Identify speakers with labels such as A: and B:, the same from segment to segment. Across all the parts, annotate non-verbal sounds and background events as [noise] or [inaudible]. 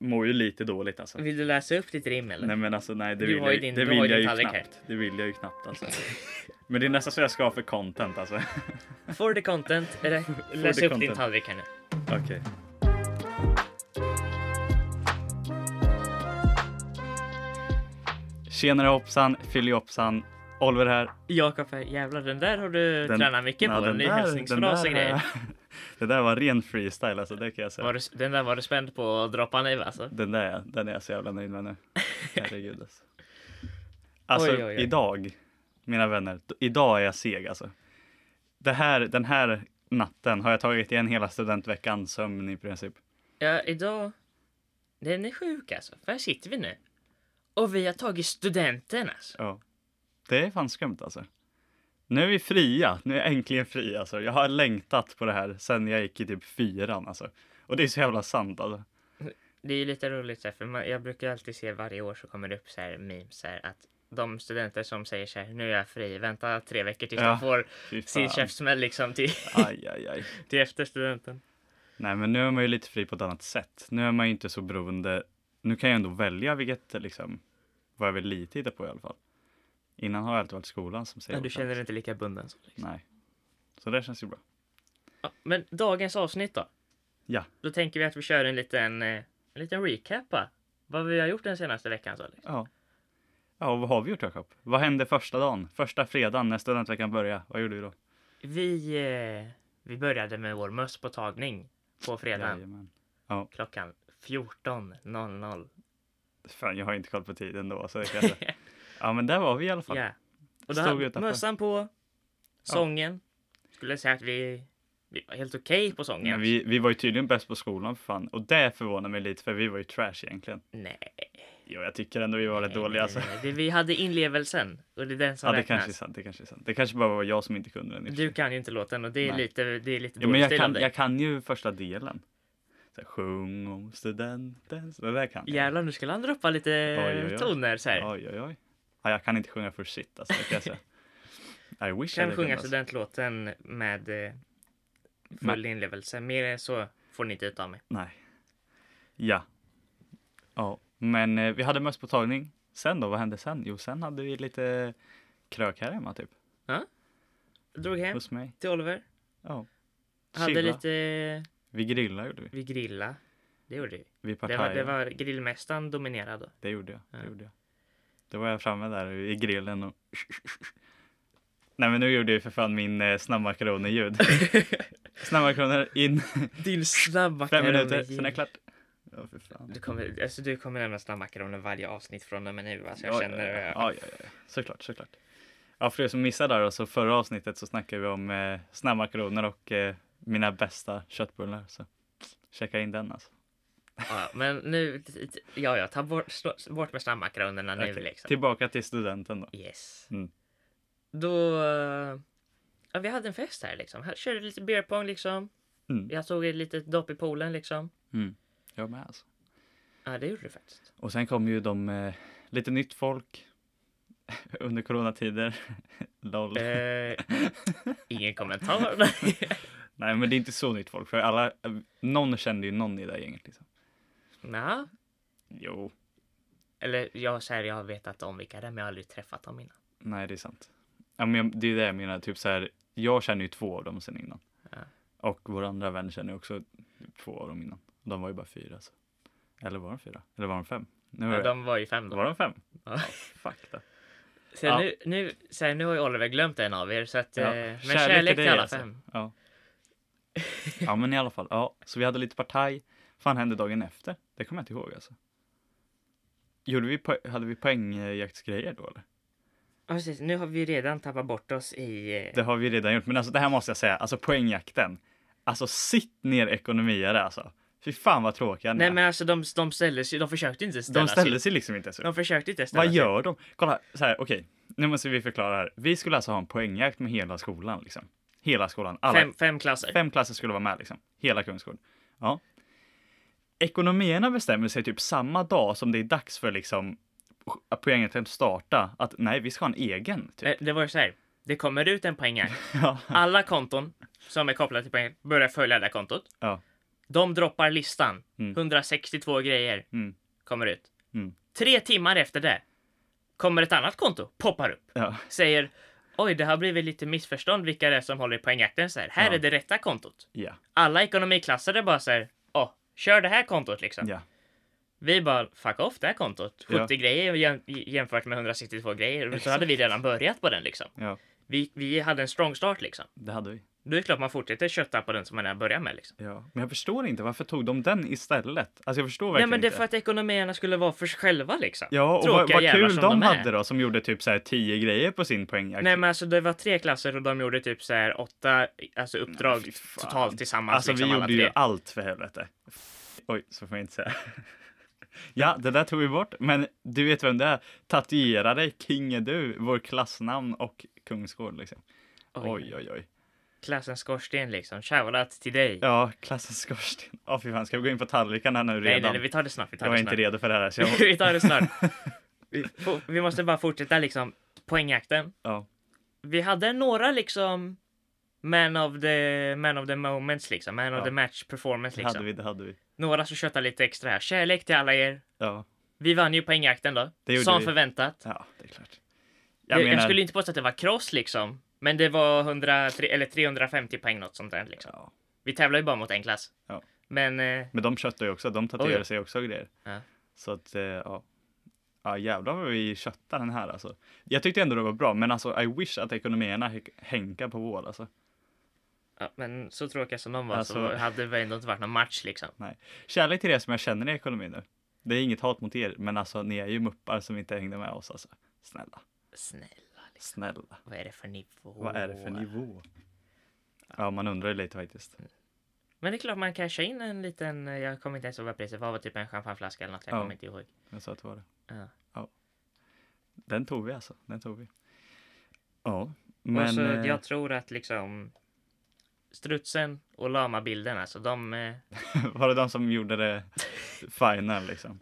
A: mår ju lite dåligt alltså.
B: Vill du läsa upp ditt rim eller?
A: Nej men alltså nej det
B: Du
A: vill
B: har
A: jag,
B: ju
A: ju-
B: din-
A: det
B: du
A: vill
B: har ju
A: jag
B: din
A: ju
B: tallrik
A: knappt.
B: här.
A: Det vill jag ju knappt
B: [laughs]
A: alltså. Men det är nästan så jag ska ha för content alltså. [laughs]
B: For the content. Eller, läs
A: the
B: upp din
A: content.
B: tallrik här nu.
A: Okej. Tjenare hoppsan, Filioppsan, Oliver här.
B: Jakob, här, jävlar den där har du
A: Den-
B: tränat mycket
A: Ja,
B: på. Den,
A: den
B: är
A: där-
B: hälsningsfras och
A: den där-
B: grejer.
A: [laughs] Det där var ren freestyle alltså, det kan jag säga.
B: Var du, den där var du spänd på att droppa nu alltså?
A: Den där den är jag så jävla nöjd med
B: [laughs]
A: nu. Herregud alltså. Alltså
B: Oj, oj, oj.
A: idag, mina vänner, d- idag är jag seg alltså. Det här, den här natten har jag tagit igen hela studentveckan sömn i princip.
B: Ja, idag. Den är sjuk alltså. För här sitter vi nu. Och vi har tagit studenten alltså.
A: Ja. Det är fan skumt alltså. Nu är vi fria, nu är jag äntligen fri alltså. Jag har längtat på det här sen jag gick i typ fyran alltså. Och det är så jävla sant alltså.
B: Det är ju lite roligt så här, för man, jag brukar alltid se varje år så kommer det upp så här memes så här att de studenter som säger så här nu är jag fri, vänta tre veckor tills
A: Ja,
B: de får
A: Fy
B: sin
A: fan.
B: käftsmäll liksom till, [laughs]
A: Aj, aj, aj.
B: till efter studenten.
A: Nej, men nu är man ju lite fri på ett annat sätt. Nu är man ju inte så beroende. Nu kan jag ändå välja vilket, liksom, vad jag vill lite hitta på i alla fall. Innan har jag alltid varit skolan som säger
B: Men du
A: åt en.
B: känner dig inte lika bunden. Så liksom.
A: Nej. Så det känns ju bra.
B: ja, men dagens avsnitt då?
A: Ja.
B: Då tänker vi att vi kör en liten, eh, en liten recap va? Vad vi har gjort den senaste veckan. Så, liksom.
A: Ja. Ja, och vad har vi gjort Jakob? Vad hände första dagen? Första fredagen när studentveckan började? Vad gjorde vi då?
B: vi, eh, vi började med vår mösspåtagning på fredagen
A: Jajamän.
B: klockan 14.00.
A: Fan, jag har inte koll på tiden då. Så det kan jag
B: [laughs]
A: säga. ja, men där var vi i alla fall.
B: Ja. Och då
A: Stod
B: hade
A: utanför.
B: mössan på, sången. Skulle säga att vi, vi var helt okej på sången.
A: Men vi, vi var ju tydligen bäst på skolan för fan. Och det förvånar mig lite för vi var ju trash egentligen.
B: Nej.
A: Jo, jag tycker ändå vi var rätt dåliga alltså.
B: nej, nej. Vi, vi hade inlevelsen och det är den som
A: Ja, det
B: räknas.
A: kanske är sant. Det kanske är sant. Det kanske bara var jag som inte kunde den. i och för sig.
B: Du kan ju inte låten och det är
A: Nej.
B: lite, det är lite
A: ja, men
B: dålig
A: jag,
B: stil av
A: kan,
B: dig.
A: jag kan ju första delen. Så här, sjung om studenten. Så det där kan jag.
B: Jävlar, nu skulle han droppa lite
A: Oj, oj, oj.
B: toner så här.
A: Oj, oj, oj. Ja, jag kan inte sjunga för shit alltså. Det kan jag säga.
B: [laughs]
A: I wish
B: Kan
A: I kunde,
B: sjunga
A: alltså.
B: studentlåten med eh, full inlevelse. Mer än så får ni inte ut av mig.
A: Nej. Ja. Ja, men eh, vi hade mösspåtagning. Sen då, vad hände sen? Jo, sen hade vi lite krök här hemma typ.
B: Jag drog hem
A: Hos mig.
B: till Oliver.
A: Ja.
B: Hade
A: Chilla.
B: lite... eh,
A: Vi grillade gjorde vi.
B: Vi grilla. Det gjorde vi.
A: Vi
B: Det var,
A: partajade.
B: det var grillmästaren
A: [laughs]
B: dominerad då.
A: Det gjorde jag.
B: Ja.
A: Det gjorde jag. Då var jag framme där i grillen och... Nej men nu gjorde jag ju för fan min eh,
B: [laughs]
A: snabbmakaroner-ljud. snabbmakaroner in
B: Din snabba
A: fem minuter, sen är det klart. Ja, för fan.
B: Du kommer, alltså, du kommer nämna snabbmakaroner varje avsnitt från och med nu. Alltså, jag
A: Ja,
B: känner
A: ja,
B: det.
A: ja, ja, ja, ja. Såklart, såklart. Ja, för er som missade där då, så förra avsnittet så snackade vi om eh, snabbmakaroner och eh, mina bästa köttbullar. Så checka in den alltså.
B: Ja, men nu, ja, ja, ta bort, slå, bort med snabbmakaronerna nu
A: Okej,
B: liksom.
A: Tillbaka till studenten då.
B: Yes.
A: Mm.
B: Då... eh, Ja, vi hade en fest här liksom. Här körde lite beer pong liksom.
A: Mm.
B: Jag tog ett litet dopp i poolen liksom.
A: Jag med alltså.
B: Ja, det gjorde
A: [laughs]
B: du faktiskt.
A: Och sen kom ju de eh, lite nytt folk [laughs] under coronatider. [laughs] Lol.
B: Eh, ingen kommentar. [laughs]
A: Nej, men det är inte så nytt folk. För alla, eh, någon kände ju någon i det där gänget. Liksom.
B: Nja.
A: Jo,
B: Eller jag säger jag har vetat om vilka det är, men jag har aldrig träffat dem innan.
A: nej, det är sant. Ja, men jag, det är det jag menar. Typ så här, jag känner ju två av dem sen innan.
B: Ja.
A: Och vår andra vän känner ju också två av dem innan. De var ju bara fyra. Så. Eller var de fyra? Eller var de fem? Nu var,
B: Ja,
A: jag-
B: de var ju fem då.
A: var de fem?
B: Ja.
A: Fuck då.
B: Så
A: Ja.
B: nu, nu, så här, nu har ju Oliver glömt en av er, så att,
A: Ja.
B: eh, men kärlek,
A: dig
B: till alla
A: alltså.
B: fem.
A: Ja. ja, men i alla fall. Ja, så vi hade lite partaj. fan hände dagen efter? Det kommer jag inte ihåg alltså. Gjorde vi po- hade vi poängjaktsgrejer då eller?
B: Ja, precis. Nu har vi redan tappat bort oss i... eh,
A: Det har vi redan gjort, men alltså det här måste jag säga, alltså poängjakten. Alltså sitt ner ekonomiare alltså. Fy fan vad tråkiga ni
B: Nej
A: är.
B: men alltså de, de ställde sig, de försökte inte ställa
A: De ställde
B: sig.
A: sig liksom inte ens upp.
B: De försökte inte ställa
A: Vad
B: sig.
A: gör de? Kolla, så här, okej. Nu måste vi förklara här. Vi skulle alltså ha en poängjakt med hela skolan liksom. Hela skolan. Alla
B: Fem, fem klasser.
A: Fem klasser skulle vara med liksom. Hela Kungsgården. Ja. Ekonomierna bestämmer sig typ samma dag som det är dags för liksom att poängen att starta att nej, vi ska ha en egen. Typ.
B: Nej, Eh, Det var ju så här. Det
A: [laughs]
B: kommer ut en poängjakt.
A: Ja.
B: Alla konton som är kopplade till poängen börjar följa det här kontot.
A: Ja.
B: De droppar listan.
A: Mm.
B: 162 grejer
A: Mm.
B: kommer ut.
A: Mm.
B: Tre timmar efter det kommer ett annat konto, poppar upp.
A: Ja.
B: Säger Oj, det har blivit lite missförstånd vilka det är som håller i poängjakten. Så här, här
A: Ja.
B: är det rätta kontot.
A: Ja.
B: Alla ekonomiklassade bara säger Åh, kör det här kontot liksom.
A: Ja.
B: Vi bara, fuck off det här kontot.
A: Ja.
B: 70 grejer jäm- jämfört med 162 grejer. Så hade vi redan börjat på den liksom.
A: Ja.
B: Vi, vi hade en strong start liksom.
A: Det hade vi.
B: Då är det klart man fortsätter kötta på den som man har börjat med liksom.
A: Ja. Men jag förstår inte, varför tog de den istället? Alltså jag förstår
B: Nej
A: verkligen
B: men det är
A: inte.
B: för att ekonomierna skulle vara för sig själva liksom.
A: Ja, och vad,
B: Tråkiga
A: vad
B: jävlar
A: kul
B: som
A: de,
B: de är.
A: hade då, som gjorde typ så här 10 grejer på sin poängjakt.
B: Nej men alltså det var tre klasser och de gjorde typ så här åtta alltså, uppdrag
A: fy fan.
B: totalt tillsammans.
A: Alltså
B: liksom,
A: vi
B: alla
A: gjorde ju
B: tre.
A: allt för helvete. Oj, så får jag inte säga. [laughs] Ja, det där tog vi bort, men du vet vem det är. Tatuera dig, King är du, vår klassnamn och Kungsgård liksom. Oj, oj, oj.
B: Klassens skorsten liksom. Shoutout till dig.
A: Ja, klassens skorsten. Åh fy fan, ska vi gå in på tallrikarna nu
B: nej,
A: redan?
B: nej nej vi tar det snart. Vi tar
A: jag var
B: det
A: inte
B: snart.
A: redo för det här. Så
B: [laughs]
A: jag...
B: vi tar
A: [laughs]
B: det snart. Vi, får- vi måste bara fortsätta liksom poängjakten.
A: ja.
B: Vi hade några liksom man of the, man of the moments liksom. Man
A: Ja.
B: of the match performance
A: Det
B: liksom.
A: hade vi, det hade vi.
B: Några som köttar lite extra här. Kärlek till alla er.
A: Ja,
B: Vi vann ju poängjakten då.
A: Det gjorde
B: Som
A: vi.
B: förväntat.
A: ja det är klart.
B: Jag,
A: Jag menar,
B: jag skulle inte påstå att det var kross liksom. Men det var 100, tre- eller 350 poäng något sånt där liksom.
A: ja.
B: Vi tävlar ju bara mot en klass.
A: Ja.
B: Men eh,
A: Men de köttar ju också, de
B: Oj,
A: tatuerar
B: ja.
A: sig också och grejer.
B: Ja.
A: Så att, eh, ja. Ja jävlar vad vi köttar den här alltså. Jag tyckte ändå det var bra, men alltså I wish att ekonomierna hä- hänkar på vår alltså.
B: Ja, men så tråkiga som de var så
A: Alltså-
B: hade det väl ändå inte varit någon match liksom.
A: Nej. Kärlek till er som jag känner i ekonomin nu. Det är inget hat mot er, men alltså ni är ju muppar som inte hängde med oss alltså. Snälla,
B: Snälla, liksom.
A: snälla.
B: vad är det för nivå?
A: Vad är det för nivå? Ja, man undrar ju lite faktiskt.
B: Mm. Men det är klart man cashar in en liten, eh, jag kommer inte ens ihåg vad priset var, var typ en champagneflaska eller något, jag
A: Ja.
B: kommer inte ihåg.
A: Jag sa att det var det.
B: Ja.
A: Den tog vi alltså, den tog vi. Ja,
B: Men, och
A: men
B: så
A: eh,
B: jag tror att liksom strutsen och lamabilden alltså, de, eh,
A: [laughs] var det de som gjorde det final liksom?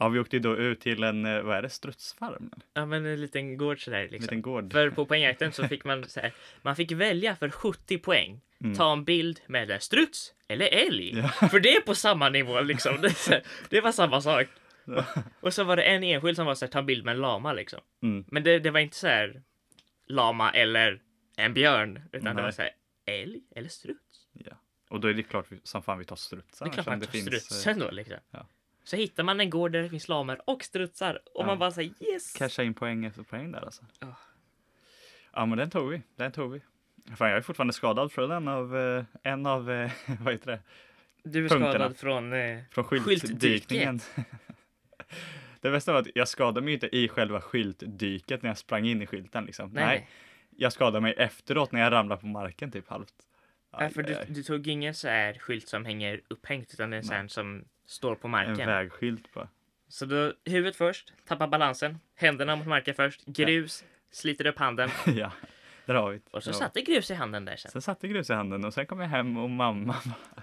A: Ja, vi åkte ju då ut till en, eh, vad är det, strutsfarm? En
B: ja men en liten gård sådär liksom.
A: liten gård.
B: För på poängjakten så fick man så här, man fick välja för 70 poäng,
A: Mm.
B: ta en bild med en struts eller älg. [laughs] För det är på samma nivå liksom. Det, är så här, det var samma sak.
A: Ja.
B: Och så var det en enskild som var så här, ta en bild med en lama liksom.
A: Mm.
B: Men det, det var inte så här lama eller en björn, utan det var
A: Nej.
B: så här älg eller struts.
A: Ja. [laughs] Och då är det klart vi- som fan vi tar strutsen.
B: Det är klart
A: eftersom
B: man tar
A: finns, eh,
B: strutsen då liksom.
A: ja.
B: Så hittar man en gård där det finns lamer och strutsar och
A: Ja.
B: man bara säger yes!
A: Casha in poäng efter poäng där alltså.
B: Ja.
A: Ja men den tog vi, den tog vi. Fan jag är fortfarande skadad från en av, eh, en av, eh, [laughs] vad heter det,
B: Du är
A: punkterna.
B: skadad från... Eh,
A: från skyltdykningen.
B: Skyltdyket.
A: [laughs] det bästa var att jag skadade mig inte i själva skyltdyket när jag sprang in i skylten liksom.
B: nej, nej.
A: jag skadade mig efteråt när jag ramlade på marken typ halvt.
B: Ja, för du,
A: Aj, aj.
B: du tog ingen så här skylt som hänger upphängt utan det är en sån här som står på
A: En
B: marken.
A: vägskylt bara. [laughs]
B: Så då huvudet först, tappa balansen, händerna mot marken först, grus, sliter upp handen
A: ja, där har vi det.
B: och så
A: Där har vi
B: satte grus i handen där
A: det.
B: sen.
A: Sen satte grus i handen och sen kom jag hem och mamma [laughs] bara,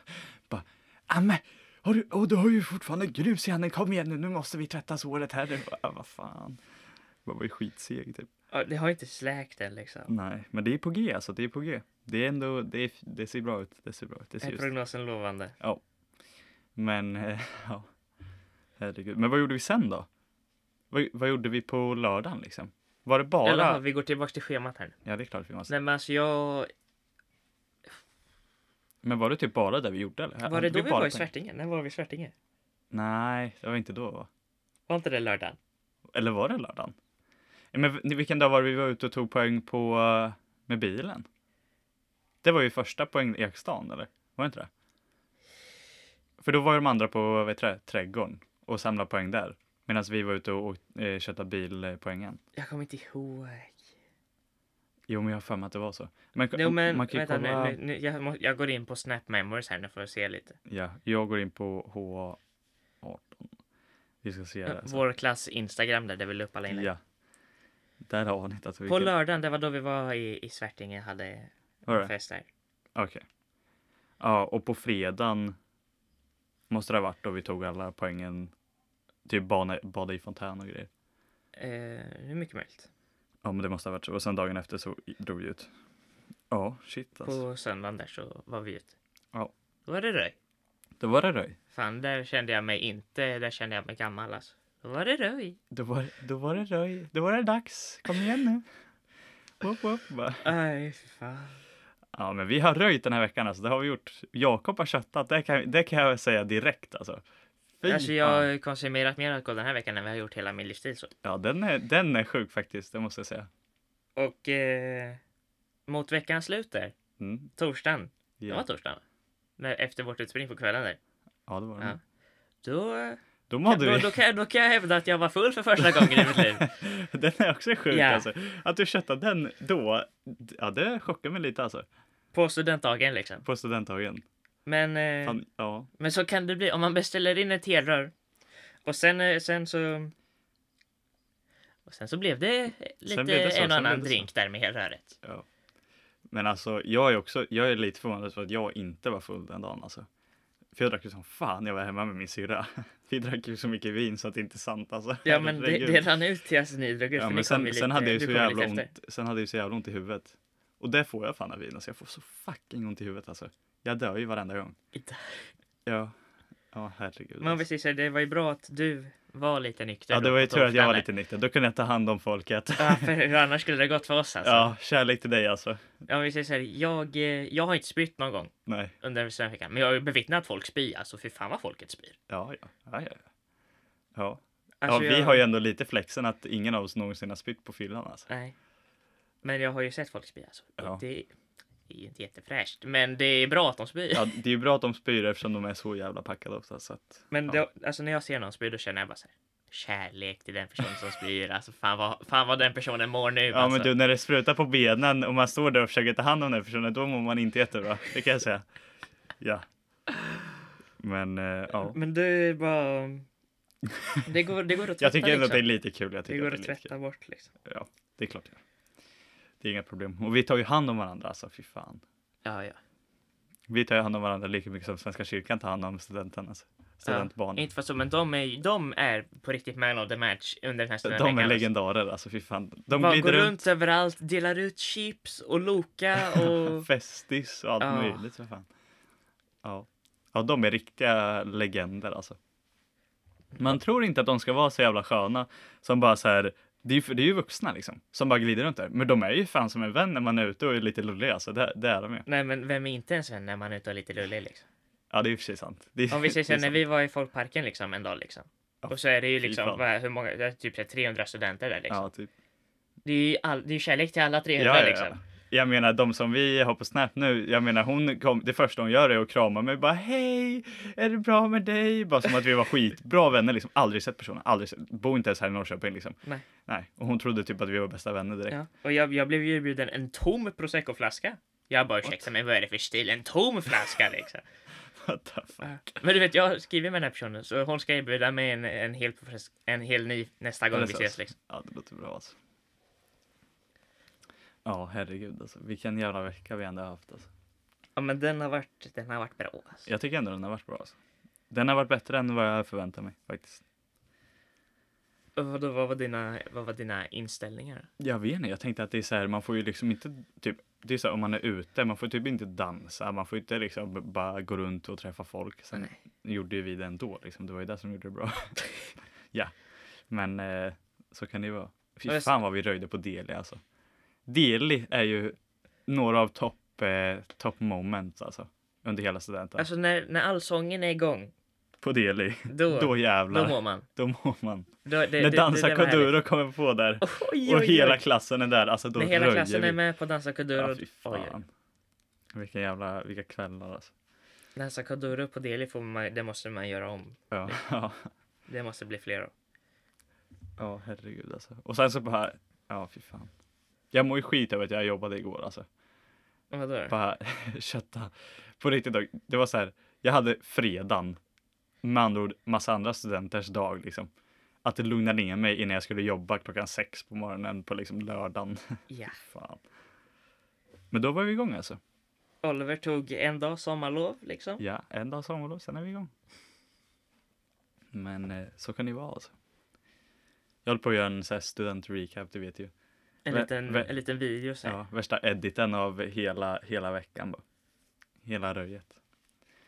A: bara Amme, har du, åh, du har ju fortfarande grus i handen, kom igen nu, nu måste vi tvätta såret här. Jag Bara, "Ah, vad fan. Man var ju skitseg typ.
B: Ja, det har ju inte släkt än liksom.
A: Nej, men det är på G alltså, det är på G. Det är ändå, det, är, det ser bra ut, det ser bra ut, det ser
B: Är
A: ljust ut.
B: prognosen lovande?
A: Men, [laughs] eh, ja. Herregud. Men vad gjorde vi sen då? Vad, vad gjorde vi på lördagen liksom? Var det bara?
B: Eller ja, vi går tillbaks till schemat här nu.
A: Ja, det är klart vi måste.
B: Nej men alltså jag...
A: Men var det typ bara det vi gjorde eller?
B: Var det då vi var i
A: på-
B: Svärtinge? När var vi i Svärtinge?
A: Nej, det var inte då va?
B: Var inte det lördagen?
A: Eller var det lördagen? Ja, Men v- vilken dag var det vi var ute och tog poäng på eh, med bilen? Det var ju första poängjaktsdagen eller? Var det inte det? För då var ju de andra på vad heter det, trädgården och samlade poäng där. Medan vi var ute och åkt- eh, köttade bilpoängen.
B: Jag kommer inte ihåg.
A: Jo, men jag har för mig att det var så. Men,
B: Jo men
A: man kan ju
B: vänta
A: kolla...
B: nu, nu, nu jag, må, jag går in på Snap Memories här nu för att se lite.
A: Ja, jag går in på H18. Vi ska se det.
B: Vår klass Instagram där, där vi la upp alla inlägg.
A: Ja. Där har ni tatueringen.
B: På lördagen, det var då vi var i, i Svärtinge hade
A: Var det?
B: fest där.
A: Okej. Ja, och på fredagen måste det ha varit då vi tog alla poängen. Typ bana, bada i fontän och grejer.
B: Eh, hur mycket möjligt?
A: Ja, men det måste ha varit så. Och sen dagen efter så drog vi ut. Ja, shit alltså.
B: På söndagen där så var vi ute.
A: Ja.
B: Då var det röj.
A: Då var det röj.
B: Fan, där kände jag mig inte, där kände jag mig gammal alltså. Då var det röj.
A: Då var, då var det röj. Då var det dags. Kom igen nu. Whoop, whoop, bara.
B: Nej, fy fan.
A: Ja, men vi har röjt den här veckan alltså. Det har vi gjort. Jakob har köttat. Det kan, det kan jag säga direkt alltså. Fy
B: Alltså jag
A: fan.
B: har konsumerat mer alkohol den här veckan än vad jag har gjort hela min livstid så.
A: Ja, den är, den är sjuk faktiskt. Det måste jag säga.
B: Och eh, mot veckans slut där,
A: Mm.
B: torsdagen, det
A: Ja.
B: var torsdagen va? När- Efter vårt utspring på kvällen där.
A: ja, det var den.
B: Ja. Då,
A: Då
B: då,
A: mådde
B: då,
A: vi.
B: kan, jag- då kan jag hävda att jag var full för första gången i mitt [laughs] liv.
A: [laughs] den är också sjuk
B: Ja.
A: alltså. Att du köttade den då. d- Ja, det chockar mig lite alltså.
B: På studentdagen liksom.
A: På studentdagen.
B: Men, eh,
A: Fan, ja.
B: men så kan det bli om man beställer in ett helrör. Och sen, eh, sen så... Och sen så blev det lite
A: blev det så,
B: en
A: sen
B: och annan
A: blev det så.
B: drink där med helröret.
A: Men alltså, jag är också, jag är lite förvånad för att jag inte var full den dagen alltså. För jag drack ju som fan när jag var hemma med min syrra. [laughs] Vi drack ju så mycket vin så att det inte är sant alltså.
B: Ja men det,
A: Herregud.
B: det rann ut till alltså, ni drog ut.
A: Ja,
B: för
A: men
B: ni kom ju
A: sen, sen
B: lite,
A: hade jag ju
B: du
A: så
B: kom lite
A: jävla
B: efter.
A: ont, sen hade jag ju så jävla ont i huvudet. Och det får jag fan av vin, alltså jag får så fucking ont i huvudet alltså. Jag dör ju varenda gång.
B: Inte.
A: Ja, ja herregud.
B: Men om vi
A: Alltså.
B: säger så här, det var ju bra att du var lite nykter.
A: Ja,
B: då
A: det var ju
B: på
A: tur att jag var
B: torsdagen
A: lite nykter, då kunde jag ta hand om folket.
B: där.
A: [laughs]
B: Ja, för hur annars skulle det gått för oss alltså.
A: Ja, kärlek till dig alltså.
B: Om vi säger så här, jag, eh, jag har inte spytt någon gång
A: Nej,
B: under den här veckan. Men jag har ju bevittnat folk spy alltså. Fy fan vad folket spyr.
A: ja, ja, ja, ja. ja. Ja, ja
B: Alltså,
A: vi
B: jag-
A: har ju ändå lite flexen att ingen av oss någonsin har spytt på fyllan alltså.
B: Nej. Men jag har ju sett folk spy alltså.
A: Ja.
B: Och det är ju inte jättefräscht. Men det är bra att de spyr.
A: Ja, det är ju bra att de spyr eftersom de är så jävla packade också. Så att,
B: Men
A: ja.
B: då, alltså när jag ser någon spy då känner jag bara så här. Kärlek till den personen som spyr. Alltså fan vad, fan vad den personen mår nu.
A: Ja
B: alltså.
A: men du, när det sprutar på benen och man står där och försöker ta hand om den personen, då mår man inte jättebra. Det kan jag säga. Ja. Men eh, ja.
B: Men det är bara... Det går, det går att
A: [laughs]
B: tvätta
A: Jag tycker ändå att
B: liksom.
A: det är lite kul. Jag
B: Det
A: tycker
B: går
A: att
B: att
A: det är lite kul.
B: tvätta bort liksom.
A: Ja, det är klart. det gör. Det är inga problem. Och vi tar ju hand om varandra alltså, fy fan.
B: Ja, ja.
A: Vi tar ju hand om varandra lika mycket som Svenska kyrkan tar hand om studenterna. Alltså. Studentbarnen.
B: Inte för så, men de är, de är på riktigt man of the match under den här stunden.
A: De är legendarer alltså, fy fan. De
B: Bara
A: glider
B: går runt.
A: runt,
B: överallt, delar ut chips och
A: [laughs]
B: Loka och...
A: festis och allt
B: Mm. Ja.
A: möjligt för fan. Ja. ja, de är riktiga legender alltså. Man tror inte att de ska vara så jävla sköna som bara så här. Det är, ju, det är ju vuxna liksom som bara glider runt där. Men de är ju fan som en vän när man är ute och är lite lullig alltså. Det, det är de ju.
B: Nej men vem är inte ens vän när man är ute och är lite lullig liksom?
A: Ja, det är i och för sig sant. Det, är-
B: Om vi säger
A: [laughs] det är
B: så när vi var i folkparken liksom en dag liksom.
A: Ja,
B: Och så är det ju
A: fy
B: liksom,
A: fan.
B: vad, hur många, det är typ så här 300 studenter där liksom.
A: Ja, typ.
B: Det är ju all, det är ju kärlek till alla 300
A: Ja, ja,
B: liksom.
A: ja. Jag menar de som vi har på Snap nu, jag menar hon kom, det första hon gör är att krama mig bara hej, är det bra med dig? Bara som att vi var skitbra vänner liksom, aldrig sett personen, aldrig sett, bor inte ens här i Norrköping liksom.
B: Nej.
A: Nej, och hon trodde typ att vi var bästa vänner direkt.
B: Ja. Och jag, jag blev ju erbjuden en tom proseccoflaska. Jag bara ursäkta mig vad är det för stil? En tom flaska
A: [laughs]
B: liksom.
A: [laughs] What the fuck?
B: Men du vet, jag skriver med den här personen så hon ska erbjuda mig en, en, hel, profess- en hel ny nästa gång
A: Eller
B: vi
A: så.
B: ses. Liksom.
A: Ja, det låter bra alltså. Ja, herregud alltså. Vilken jävla vecka vi ändå har haft alltså.
B: Ja, men den har varit, den har varit bra. Alltså.
A: Jag tycker ändå den har varit bra alltså. Den har varit bättre än vad jag förväntade mig faktiskt.
B: Och vadå, vad, var dina, vad var dina inställningar?
A: Jag vet inte, jag tänkte att det är så här, man får ju liksom inte typ, det är så här, om man är ute, man får typ inte dansa, man får inte liksom b- bara gå runt och träffa folk. Sen gjorde ju vi det ändå liksom, det var ju det som gjorde det
B: [laughs]
A: bra. ja, men eh, så kan det ju vara.
B: Ja,
A: Fy
B: jag-
A: fan vad vi röjde på Deli alltså. Deli är ju några av topp, eh, top moments alltså, under hela studenten.
B: Alltså när, när allsången är igång,
A: på Deli,
B: då,
A: då
B: då,
A: jävlar,
B: mår man.
A: då mår man.
B: Då, det,
A: När
B: det-
A: Dansa
B: det- det var härligt.
A: Kuduro kommer på där
B: Oj, oj,
A: och
B: oj.
A: hela klassen är där, alltså då
B: När hela
A: röjer
B: klassen
A: vi.
B: är med på Dansa Kuduro.
A: Ja, fy
B: oj, oj, oj.
A: fan. Vilka jävla, vilka kvällar alltså.
B: Dansa Kuduro på Deli får man, det måste man göra om.
A: Ja, [laughs] ja,
B: Det måste bli fler av.
A: ja herregud alltså. Och sen så bara, ja fy fan. Jag mår ju skit över att jag jobbade igår alltså.
B: Vadå?
A: Bara [laughs] kötta. På riktigt dock, det var så här, jag hade fredagen, med andra ord massa andra studenters dag liksom. Att det lugnade ner mig innan jag skulle jobba klockan sex på morgonen på liksom lördagen. [laughs]
B: Ja.
A: Fan. Men då var vi igång alltså.
B: Oliver tog en dag sommarlov liksom.
A: Ja, en dag sommarlov, sen är vi igång. Men eh, så kan det ju vara alltså. Jag håller på att göra en så här student-recap, du vet ju.
B: En,
A: Vä-
B: liten,
A: vä-
B: en liten video så här.
A: Ja, värsta editen av hela, hela veckan bara. Hela röjet.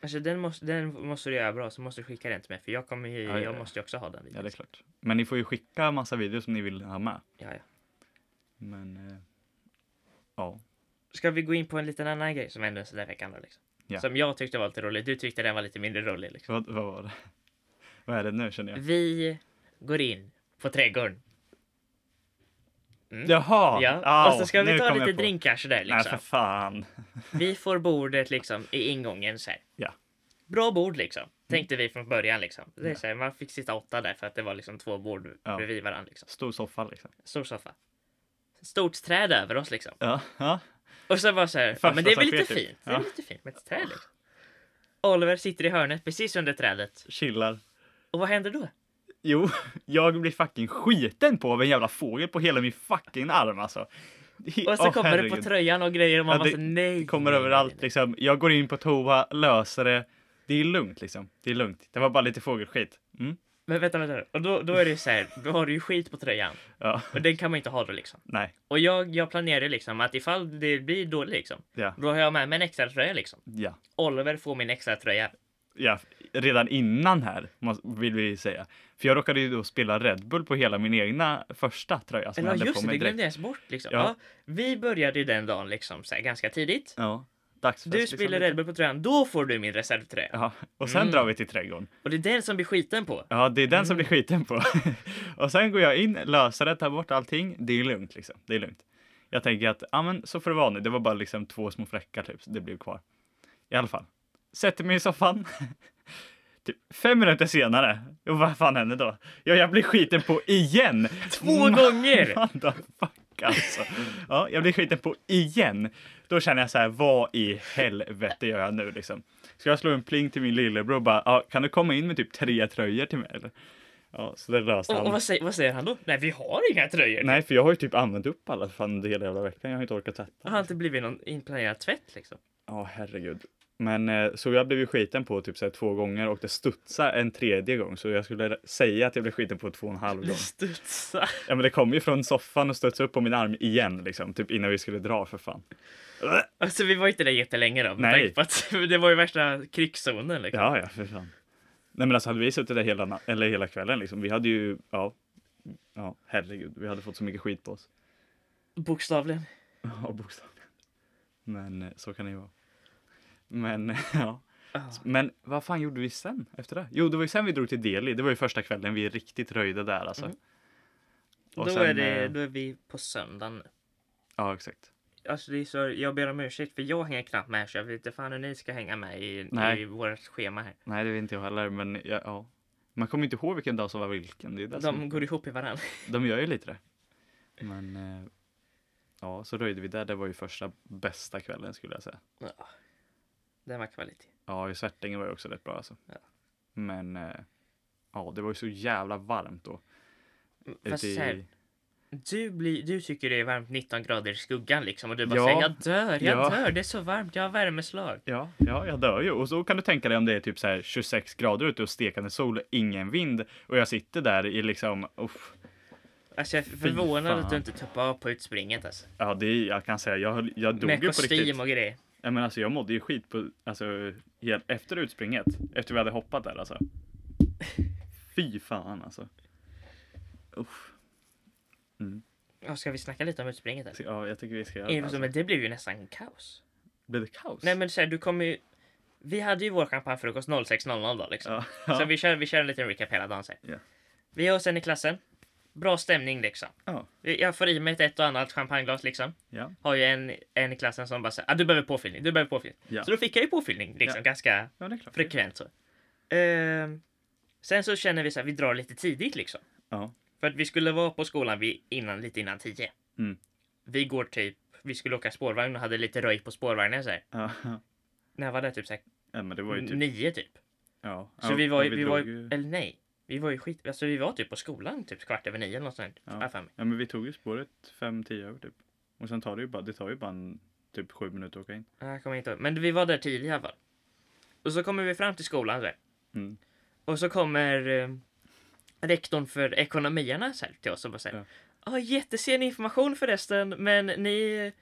B: Alltså den måste, den måste du göra bra, så måste du skicka den till mig. För jag kommer ju,
A: Ja, ja,
B: jag
A: ja.
B: måste ju också ha den
A: Ja,
B: videon.
A: det är klart. Men ni får ju skicka massa videos som ni vill ha med.
B: Ja, ja.
A: Men, eh, ja.
B: Ska vi gå in på en liten annan grej som hände den här veckan då liksom?
A: Ja.
B: Som jag tyckte var lite rolig, du tyckte den var lite mindre rolig liksom.
A: Vad, vad var det? [laughs] Vad är det nu känner jag?
B: Vi går in på trädgården. Mm.
A: Jaha!
B: Ja, och
A: au,
B: så ska vi
A: nu
B: ta
A: kom
B: lite
A: jag på.
B: drinkar sådär
A: Nej,
B: liksom.
A: för fan.
B: Vi får bordet liksom i ingången så här.
A: Ja.
B: Bra bord liksom, tänkte vi från början liksom. Det är så här, man fick sitta åtta där för att det var liksom två bord
A: Ja.
B: bredvid varandra liksom.
A: Stor soffa liksom.
B: Stor soffa. Stort träd över oss liksom.
A: Ja, ja.
B: Och så bara så här, ja,
A: Första
B: men det är väl
A: som
B: lite
A: sker, typ.
B: fint. Det är
A: Ja.
B: lite fint med ett träd liksom. Oliver sitter i hörnet precis under trädet.
A: Chillar.
B: Och vad händer då?
A: Jo, [laughs] jag blir fucking skiten på av en jävla fågel på hela min fucking arm alltså. He-
B: Och så
A: åh,
B: kommer det på
A: herregud.
B: tröjan och grejer och man
A: Ja,
B: bara
A: det
B: så nej.
A: Det kommer
B: nej,
A: överallt
B: nej,
A: liksom. Jag går in på toa, löser det. Det är lugnt liksom. Det är lugnt. Det var bara lite fågelskit. Mm.
B: nej. Men vänta, vänta. Och då, då är det ju så här, då har du ju skit på tröjan.
A: Ja,
B: Och den kan man ju inte ha då liksom.
A: nej.
B: Och jag, jag planerar liksom att ifall det blir dåligt liksom,
A: Ja,
B: då har jag med mig en extra tröja liksom.
A: ja.
B: Oliver får min extra tröja.
A: ja, redan innan här, måste- vill vi säga. För jag råkade ju då spela Red Bull på hela min egna första tröja som
B: Eller
A: jag hade på
B: just det, det
A: mig direkt.
B: glömde jag ens bort liksom. Ja.
A: Ja.
B: vi började ju den dagen liksom så här, ganska tidigt.
A: Ja, dagsfest.
B: Du
A: liksom
B: spiller
A: lite.
B: Red Bull på tröjan, då får du min reservtröja.
A: Ja, och sen
B: Mm.
A: drar vi till trädgården.
B: Och det är den som blir skiten på.
A: Ja, det är den som blir skiten på. [laughs] och sen går jag in, löser det, tar bort allting. Det är lugnt liksom. Det är lugnt. Jag tänker att, ja men så får det vara nu. Det var bara liksom två små fläckar typ, så det blev kvar. I alla fall. Sätter mig i soffan. [laughs] typ fem minuter senare. Och vad fan hände då? Ja, jag blir skiten på igen.
B: Två gånger!
A: Motherfuck alltså. Ja, jag blir skiten på igen. Då känner jag så här, vad i helvete gör jag nu liksom? Så jag slår en pling till min lillebror och bara, ja, kan du komma in med typ tre tröjor till mig eller? Ja, så det löste
B: Och, och
A: han.
B: vad, säger, vad säger han då? Nej, vi har inga tröjor.
A: Nej, för jag har ju typ använt upp alla fan under hela jävla veckan. Jag har inte orkat
B: Det har
A: tvätta.
B: inte blivit någon inplanerad tvätt liksom.
A: Ja, herregud. Men eh, så jag blev ju skiten på typ så här två gånger och det studsade en tredje gång. Så jag skulle säga att jag blev skiten på två och en halv [laughs]
B: Det
A: gång.
B: studsar.
A: Ja men det kom ju från soffan och studsade upp på min arm igen liksom, typ innan vi skulle dra för fan.
B: Alltså vi var inte där jättelänge då. med
A: Nej.
B: tanke på Att, [laughs] det var ju värsta krigszonen liksom.
A: Ja, ja, för fan. Nej men alltså hade vi suttit där hela, na- eller hela kvällen liksom, vi hade ju, ja, ja, herregud, vi hade fått så mycket skit på oss.
B: Bokstavligen.
A: Ja, bokstavligen. Men eh, så kan det ju vara. Men, [laughs] ja.
B: Ja.
A: Men vad fan gjorde vi sen efter det? Jo, det var ju sen vi drog till Delhi. Det var ju första kvällen vi riktigt röjde där alltså.
B: Mm.
A: Och
B: Då,
A: sen,
B: är det,
A: eh,
B: då är vi på söndagen.
A: Ja, exakt.
B: Alltså det är så, jag ber om ursäkt för jag hänger knappt med så jag vet inte fan hur ni ska hänga med i,
A: Nej.
B: i vårt schema här.
A: Nej, det vet inte jag heller, men ja, ja. Man kommer inte ihåg vilken dag som var vilken. Det är det som...
B: De går ihop i varandra.
A: De gör ju lite det. Men eh, ja, så röjde vi där. Det var ju första bästa kvällen skulle jag säga.
B: Ja. [laughs] Den var kvalitet.
A: Ja, i Svärtängen var ju också rätt bra alltså.
B: Ja.
A: Men eh, ja, det var ju så jävla varmt då.
B: Fast
A: Ute i-
B: så här, du, blir, du tycker det är varmt 19 grader i skuggan liksom och du bara
A: Ja.
B: säger jag dör, jag
A: Ja.
B: dör, det är så varmt, jag har värmeslag.
A: Ja, ja, jag dör ju. Och så kan du tänka dig om det är typ så här 26 grader ute och stekande sol, ingen vind och jag sitter där i liksom, uff.
B: Alltså jag är förvånad att du
A: fan.
B: inte tuppade av på utspringet alltså.
A: Ja, det är, jag kan säga, jag, höll- jag dog
B: Med
A: ju på riktigt.
B: kostym och grejer.
A: Ja, men alltså jag mådde ju skit på, alltså, helt efter utspringet. Efter vi hade hoppat där
B: [laughs]
A: alltså. Fy fan alltså. Uff.
B: Ja, ska vi snacka lite om utspringet? Eller?
A: Så, Ja, jag tycker vi ska göra
B: Ja,
A: det. Alltså.
B: Men det blev ju nästan kaos.
A: Blev det kaos?
B: Nej men så här, du kommer ju... Vi hade ju vår champagnefrukost 06.00 då liksom.
A: Ja. [laughs]
B: Så vi kör, vi kör en liten recap hela dagen. Så här.
A: Ja.
B: Vi är hos en i klassen. Bra stämning liksom.
A: Ja.
B: Jag får i mig ett, ett och annat champagneglas liksom.
A: Ja.
B: Har ju en, en i klassen som bara säger ah, du behöver påfyllning, du behöver påfyllning.
A: Ja.
B: Så då fick jag ju påfyllning liksom
A: Ja.
B: ganska
A: ja, det typ- är klart.
B: frekvent så. Ehm, sen så känner vi så här, vi drar lite tidigt liksom.
A: Ja.
B: För att vi skulle vara på skolan vid innan, lite innan tio.
A: Mm.
B: Vi går typ, vi skulle åka spårvagn och hade lite röj på spårvagnen så här.
A: Ja.
B: När var det? Typ, så här,
A: ja, men det var ju typ.
B: nio typ.
A: Ja.
B: Så
A: ja,
B: vi var ju,
A: ja,
B: vi, var
A: drog
B: ju, eller nej. Vi var ju skit, alltså vi var typ på skolan typ kvart över nio eller något sånt.
A: Ja.
B: har jag för mig.
A: Ja, men vi tog ju spåret fem tio över typ. Och sen tar det ju bara, det tar ju bara en, typ sju minuter att åka in.
B: Nej, Jag kommer inte ihåg. Men vi var där tidigt i alla fall. Och så kommer vi fram till skolan så här.
A: Mm.
B: Och så kommer eh, rektorn för ekonomierna så här, till oss och bara säger
A: Ja.
B: ja. jättesen information förresten, men ni eh,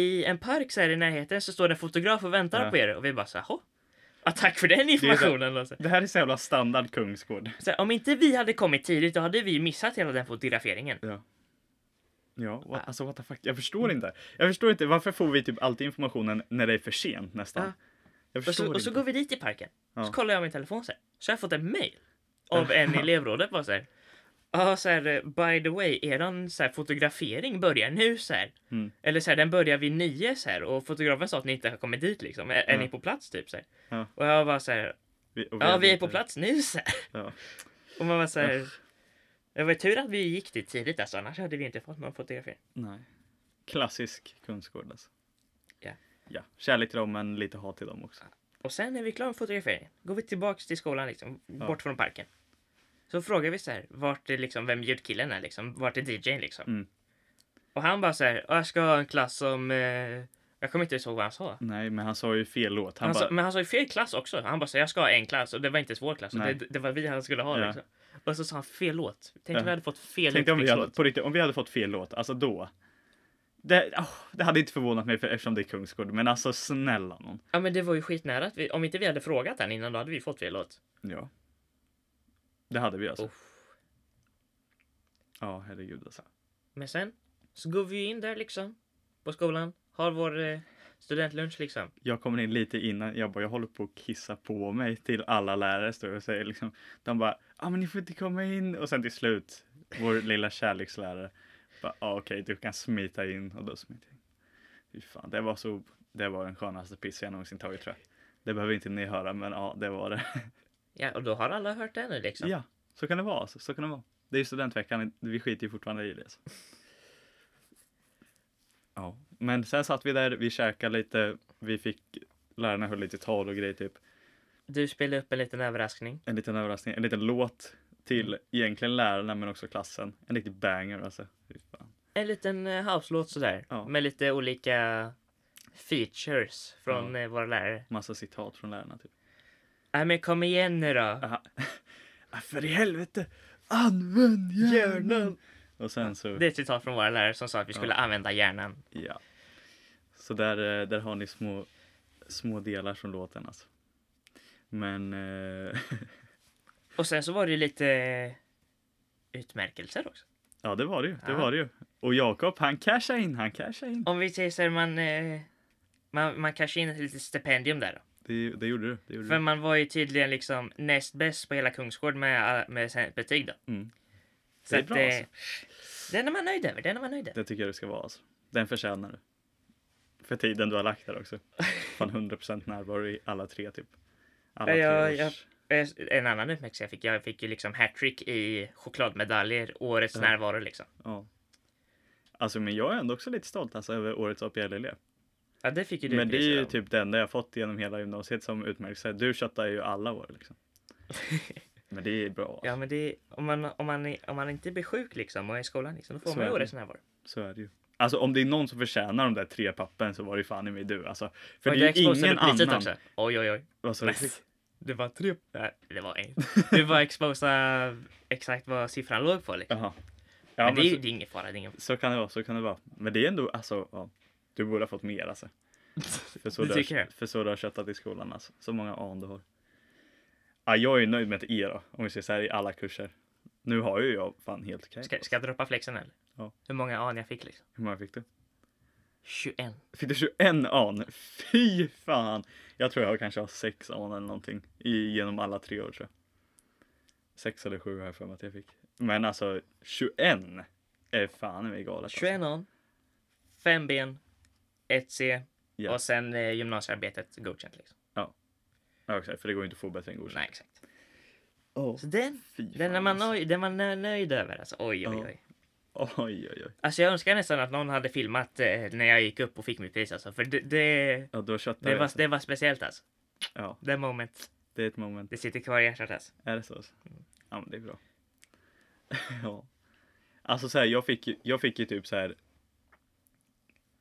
B: i en park så här i närheten så står det en fotograf och väntar
A: Ja.
B: på er och vi bara så här, "Jaha." Ja, tack för den informationen. Lasse.
A: Det här är så jävla standard Kungsgård.
B: Så här, om inte vi hade kommit tidigt, då hade vi ju missat hela den fotograferingen.
A: Ja. Ja, what, alltså what the fuck. Jag förstår inte. Jag förstår inte, varför får vi typ alltid informationen när det är för sent nästan?
B: Ja.
A: Jag
B: Och
A: förstår
B: så, och så
A: inte.
B: går vi dit i parken. Så
A: Ja.
B: kollar jag min telefon så här. Så har jag fått ett mail.
A: [laughs]
B: Av en i elevrådet bara så här. Ja, så här, eh, by the way, eran så här, fotografering börjar nu så här.
A: Mm.
B: Eller så här, den börjar vid nio så här. Och fotografen sa att ni inte har kommit dit liksom. Är, är
A: Ja.
B: ni på plats typ så här?
A: Ja.
B: Och jag var så här.
A: Vi, och
B: Ja,
A: har
B: vi är
A: inte-
B: på plats nu så här.
A: Ja.
B: Och man var så här. Det var ju tur att vi gick dit tidigt alltså, annars hade vi inte fått någon fotografering.
A: Nej. Klassisk Kungsgård alltså.
B: Ja.
A: Ja, kärlek till dem men lite hat till dem också.
B: Och sen när vi är klara med fotograferingen, går vi tillbaks till skolan liksom, bort från parken. Så frågar vi så här, vart är liksom, vem ljudkillen är liksom, vart är DJn liksom?
A: Mm.
B: Och han bara så här, "Ja, jag ska ha en klass som, eh... jag kommer inte ihåg vad han sa.
A: Nej, men han sa ju fel låt. Han
B: Han
A: bara,
B: sa, men han sa ju fel klass också. Han bara så här, jag ska ha en klass och det var inte svår klass. Och det,
A: Nej.
B: det var vi han skulle ha
A: Ja.
B: liksom. Och så sa han fel låt. Tänk
A: Ja.
B: om vi hade fått fel
A: Tänk om vi hade,
B: uttryckslåt.
A: på riktigt, om vi hade fått fel låt, alltså då. Det, åh, det hade inte förvånat mig för, eftersom det är Kungsgård, men alltså snälla någon.
B: Ja men det var ju skitnära att vi, om inte vi hade frågat han innan då hade vi fått fel låt.
A: Ja. Det hade vi alltså.
B: Oh.
A: Ja, herregud alltså.
B: Men sen så går vi ju in där liksom på skolan, har vår eh, studentlunch liksom.
A: Jag kommer in lite innan, jag bara, jag håller på att kissa på mig till alla lärare står och säger liksom. De bara, ja ah, men ni får inte komma in. Och sen till slut, vår lilla kärlekslärare. bara, Ja ah, okej, du kan smita in. Och då smiter jag in. Fy fan, det var så, det var den skönaste pissen jag någonsin tagit tror jag. Det behöver inte ni höra, men ja, det var det.
B: Ja, och då har alla hört det nu liksom.
A: Ja, så kan det vara. alltså. Så kan det vara. Det är ju studentveckan, vi skiter ju fortfarande i det. Alltså. Ja, men sen satt vi där, vi käkade lite, vi fick, lärarna höll lite tal och grejer typ.
B: Du spelar upp en liten överraskning.
A: En liten överraskning, en liten låt till egentligen lärarna men också klassen. En riktig banger alltså. Fy fan.
B: En liten eh, house-låt sådär.
A: Ja.
B: Med lite olika features från eh, våra lärare.
A: Massa citat från lärarna typ.
B: Nej men kom igen nu då.
A: Aha. [laughs] Ah, För i helvete, använd hjärnan! Och sen så,
B: Det är ett citat från våra lärare som sa att vi skulle använda hjärnan.
A: ja. Så där, eh, där har ni små, små delar från låten alltså. Men eh, [laughs]
B: Och sen så var det ju lite eh, utmärkelser också.
A: Ja, det var det ju. Det
B: Ja.
A: var det ju. Och Jakob, han cashade in, han cashade in.
B: Om vi säger såhär man, eh, man, man kanske in ett litet stipendium där då.
A: Det, det gjorde du. Det gjorde
B: För
A: du.
B: man var ju tydligen liksom näst bäst på hela Kungsgård med, alla- med sen- betyg då.
A: Mm.
B: Så
A: Det är
B: att,
A: bra
B: eh,
A: alltså.
B: Den är man nöjd över, den är man nöjd över.
A: Det tycker jag du ska vara alltså. Den förtjänar du. För tiden du har lagt där också.
B: [laughs]
A: Fan 100% närvaro i alla tre typ. Alla
B: Ja, jag-
A: års-
B: jag- Eh, En annan utmärkelse jag fick, jag fick ju liksom hattrick i chokladmedaljer, årets närvaro liksom.
A: Ja. Alltså men jag är ändå också lite stolt alltså över årets APL-elev.
B: Ja, det fick ju du
A: Men det är ju
B: priset
A: typ det enda jag fått genom hela gymnasiet som utmärkelse. Du köttar ju alla år
B: [laughs]
A: liksom. Men det är bra. Alltså.
B: av. Ja, men det är, om, man, om, man, är- om man inte blir sjuk liksom och är i skolan liksom, då får
A: Så
B: man
A: är
B: ju
A: det.
B: årets närvaro.
A: Så är det ju. Alltså om det är någon som förtjänar de där tre pappen så var det ju fan i mig du alltså. För
B: Oj,
A: det är ju
B: där exposade
A: ingen
B: du priset
A: annan.
B: Också. Oj, oj, oj.
A: Vad sa du?
B: Det var tre... Nej, det
A: [laughs]
B: var en. Du var exposa exakt vad siffran låg på liksom.
A: Jaha.
B: Ja,
A: Ja
B: men
A: men,
B: det är, ju-
A: så,
B: det är ingen fara, det är ingen
A: så kan det vara, så kan det vara. Men det är ändå alltså, ja, du borde ha fått mer alltså.
B: [laughs]
A: För så
B: Det
A: du,
B: tycker
A: har,
B: jag.
A: för så du har köttat i skolan alltså. Så många an du har. Ja, jag är nöjd med ett E då, om vi ser så här i alla kurser. Nu har ju jag fan helt okej.
B: Ska, ska jag droppa flexen eller?
A: Ja.
B: Hur många an jag fick liksom?
A: Hur många fick du?
B: 21.
A: Fick du 21 an? Fy fan! Jag tror jag kanske har 6 an eller någonting i, genom alla tre år tror jag. 6 eller 7 har jag för mig att jag fick. Men alltså 21 är fan i mig galet. alltså.
B: 21 an. 5 ben. 1 C.
A: Ja.
B: Och sen eh, gymnasiearbetet godkänt liksom.
A: Alltså. Ja, exakt, för det går ju inte att få bättre än godkänt.
B: Nej exakt.
A: Åh,
B: Så den,
A: fy
B: den är
A: fan,
B: man,
A: alltså.
B: nöj, den man är nöjd över alltså. Oj oj
A: Ja.
B: oj.
A: Oj, oj, oj.
B: Alltså jag önskar nästan att någon hade filmat eh, när jag gick upp och fick mitt pris alltså. För det, det,
A: Ja, då köttar
B: det,
A: vi.
B: var,
A: alltså.
B: det var speciellt alltså.
A: Ja,
B: Det moment.
A: det är ett moment.
B: Det sitter kvar i hjärtat alltså.
A: Är det så? alltså? Ja, men det är bra. [laughs] ja. Alltså så här, jag fick, ju- jag fick ju typ så här.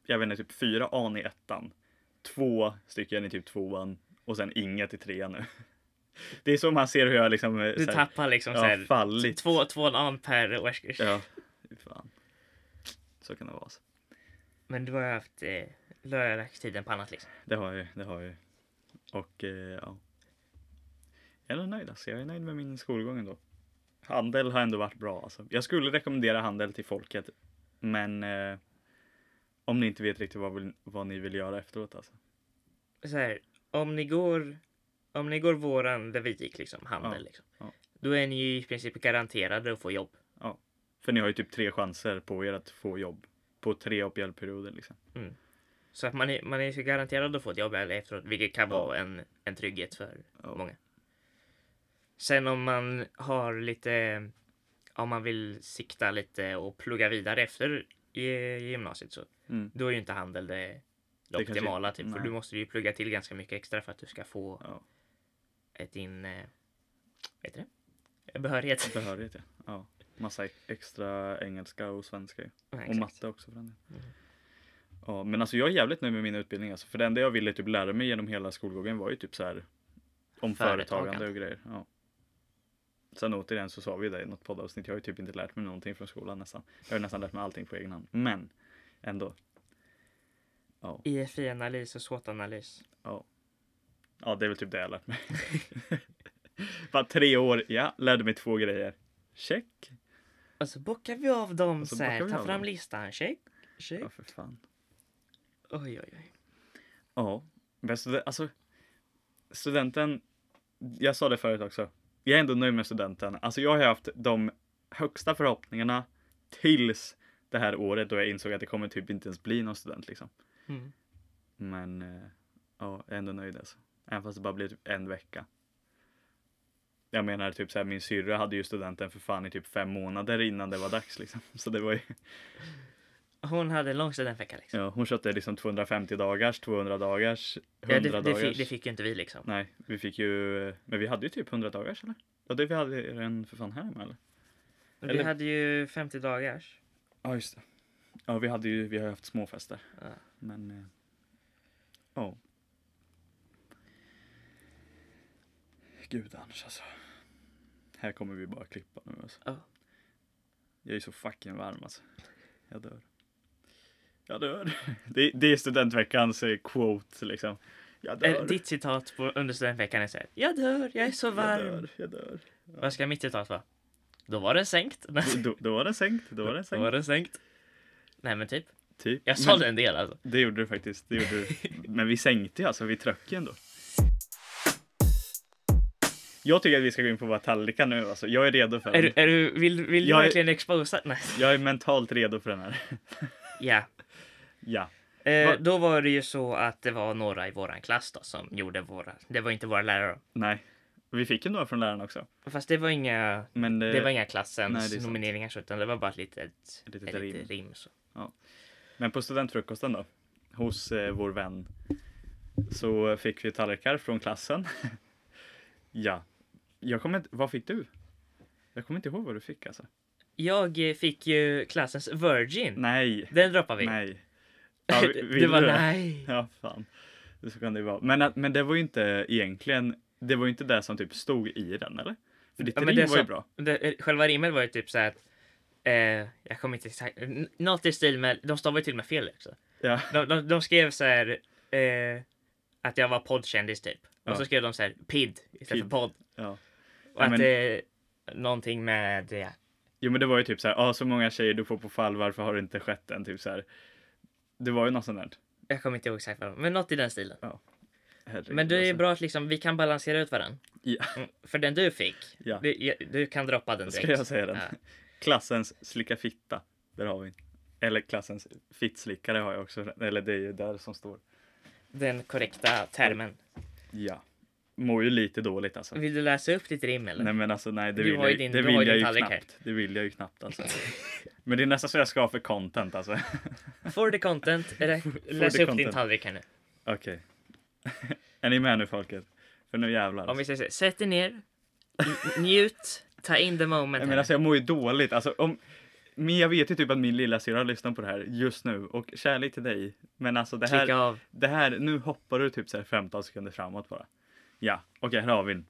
A: Jag vet inte, typ fyra an i ettan. Två stycken i typ tvåan och sen inget i trean nu. [laughs] Det är så man ser hur jag liksom... eh,
B: Du
A: så här,
B: tappar liksom
A: ja,
B: såhär.
A: fallit.
B: Två, två an per årskurs.
A: Ja, fy fan. Så kan det vara. Alltså.
B: Men du har ju haft, eh, då har jag lagt tiden på annat liksom.
A: Det har jag ju, det har jag ju. Och eh, ja. Eller nöjd alltså. Jag är nöjd med min skolgång ändå. Handel har ändå varit bra alltså. Jag skulle rekommendera handel till folket. Men eh, om ni inte vet riktigt vad, vill, vad ni vill göra efteråt alltså.
B: så här, om ni går, om ni går våran där vi gick liksom, handel
A: Ja,
B: liksom.
A: ja.
B: Då är ni ju i princip garanterade att få jobb.
A: För ni har ju typ tre chanser på er att få jobb. På tre APL-perioder liksom.
B: Så att man är, man är ju garanterad att få ett jobb här efteråt, vilket kan vara en, en trygghet för
A: Ja.
B: många. Sen om man har lite, om man vill sikta lite och plugga vidare efter i i gymnasiet så,
A: Mm.
B: då är ju inte handel det, det
A: kanske-
B: optimala typ. För
A: nej.
B: du måste ju plugga till ganska mycket extra för att du ska få
A: Ja.
B: ett din, eh, vet du det? Behörighet.
A: Behörighet ja. ja. Massa e- extra engelska och svenska ju.
B: [laughs] Ja,
A: Och
B: exakt.
A: matte också för den delen. Ja, men alltså jag är jävligt nöjd med min utbildning alltså. För det enda jag ville typ lära mig genom hela skolgången var ju typ så här om företagande och grejer. Ja. Sen återigen så sa vi ju det i något poddavsnitt. Jag har ju typ inte lärt mig någonting från skolan nästan. Jag har ju nästan lärt mig allting på egen hand. Men ändå. Ja,
B: EFI-analys och SWOT-analys.
A: ja. Ja, det är väl typ det jag har lärt mig. [laughs] Bara tre år, ja, lärde mig två grejer. Check.
B: Och så bockar vi av dem
A: Och så
B: så här,
A: bockar vi
B: ta
A: av
B: fram
A: dem.
B: listan, check, check.
A: Ja, för fan.
B: Oj, oj, oj.
A: Ja, men stud- alltså studenten, jag sa det förut också, jag är ändå nöjd med studenten. Alltså jag har ju haft de högsta förhoppningarna tills det här året då jag insåg att det kommer typ inte ens bli någon student liksom.
B: Mm.
A: Men eh, ja, jag är ändå nöjd alltså. Även fast det bara blir typ en vecka. Jag menar typ såhär, min syrra hade ju studenten för fan i typ fem månader innan det var dags liksom. [laughs] Så det var ju,
B: Hon hade en lång studentvecka liksom.
A: ja, hon köpte liksom 250 dagars, 200 dagars, 100
B: Ja, det, det,
A: dagars.
B: fick, det fick ju inte vi liksom.
A: Nej, vi fick ju, men vi hade ju typ 100 dagars eller? Ja, det vi hade ju den för fan här med eller?
B: Vi
A: Eller-
B: hade ju 50 dagars.
A: Ja, just det. Ja, vi hade ju, vi har ju haft småfester.
B: Ja.
A: Men, eh, ja. Gud annars alltså. Här kommer vi bara klippa nu alltså.
B: Ja.
A: Jag är så fucking varm alltså. Jag dör. Jag dör. [laughs] Det, det är studentveckans eh, quote liksom. Jag dör.
B: Eller, Eh, ditt citat på, under studentveckan är så här. Jag dör, jag är så
A: jag
B: varm.
A: dör. Jag dör.
B: Vad ska mitt citat vara? Då var den sänkt.
A: Då, då var den sänkt. Då var den
B: Då var
A: sänkt.
B: den sänkt. Nej men typ.
A: Typ.
B: Jag sa det en del alltså.
A: Det gjorde du faktiskt. Det gjorde
B: [laughs]
A: du. Men vi sänkte ju alltså, vi tröck ju ändå. Jag tycker att vi ska gå in på våra tallrikar nu alltså. Jag är redo för
B: Är du,
A: den.
B: är du, vill vill du
A: Jag är-
B: verkligen exposa? Nej.
A: Jag är mentalt redo för den här.
B: Ja.
A: Ja.
B: Eh,
A: Vad-
B: då var det ju så att det var några i våran klass då som gjorde våra. Det var inte våra lärare.
A: Nej. Vi fick ju några från läraren också.
B: Fast det var inga.
A: Men det,
B: Det var inga
A: Eh, nej,
B: klassens
A: det är sant.
B: nomineringar så utan det var bara ett litet,
A: Ett litet
B: ett litet
A: rim.
B: rim så.
A: Men på studentfrukosten då, hos eh, vår vän, så fick vi tallrikar från klassen. [laughs] ja. Jag kommer inte, vad fick du? Jag kommer inte ihåg vad du fick alltså.
B: Jag eh, fick ju klassens virgin.
A: Nej.
B: Den droppar vi. [laughs]
A: Nej. Ja, vi-
B: det
A: vill
B: var
A: du det?
B: nej.
A: [laughs] Ja, fan. Det så kan det ju vara. Men, att- men det var ju inte egentligen, det var ju inte det som typ stod i den eller? För ditt
B: Ja,
A: rim
B: men
A: var
B: det
A: ju
B: som-
A: bra.
B: Det, eh, själva rimmet var ju typ så här. att, Eh, jag kommer inte exakt. n- Något i stil med. De stavade ju till och med fel också.
A: Ja,
B: De, de, de skrev så här. Eh, att jag var poddkändis typ. Och
A: Ja.
B: så skrev de så här PID istället för
A: Pid.
B: podd.
A: ja.
B: Och
A: Ja,
B: att
A: men-
B: eh, någonting med. Ja.
A: Jo men det var ju typ så här, ah, så många tjejer du får på fall, varför har det inte skett än? Typ så här. Det var ju något sånt där.
B: Jag kommer inte ihåg exakt vad det var, Men något i den stilen.
A: Herregud,
B: Men det är
A: alltså.
B: bra att liksom vi kan balansera ut varandra.
A: Ja.
B: Mm, För den du fick.
A: Ja.
B: Du, jag- du kan droppa den direkt.
A: Ska jag säga den?
B: Ja.
A: [laughs] Klassens slicka fitta. Där har vi en. Eller klassens fittslickare har jag också. Eller det är ju där som står.
B: Den korrekta termen.
A: Ja. Mår ju lite dåligt alltså.
B: Vill du läsa upp ditt rim eller?
A: Nej men alltså nej, det
B: Du
A: vill
B: har
A: jag,
B: ju
A: ju-
B: din-
A: det
B: du
A: vill
B: har ju
A: jag
B: din
A: ju
B: tallrik här.
A: knappt. Det vill jag ju knappt
B: [laughs]
A: alltså. Men det är nästan så jag ska ha för content alltså. [laughs]
B: For the content. Eller, läs
A: the
B: upp din
A: content.
B: tallrik här nu.
A: Okej. [laughs] är ni med nu folket? För nu jävlar.
B: Om vi
A: Alltså.
B: säger så här, sätt dig ner, n-
A: [laughs]
B: njut, ta in the moment.
A: Nej, men
B: här.
A: alltså jag mår ju dåligt. Alltså, om... Men jag vet ju typ att min lilla syra lyssnar på det här just nu och kärlek till dig. Men alltså det här,
B: Klicka av.
A: det här, nu hoppar du typ så här 15 sekunder framåt bara. Ja, okej, här har vi den.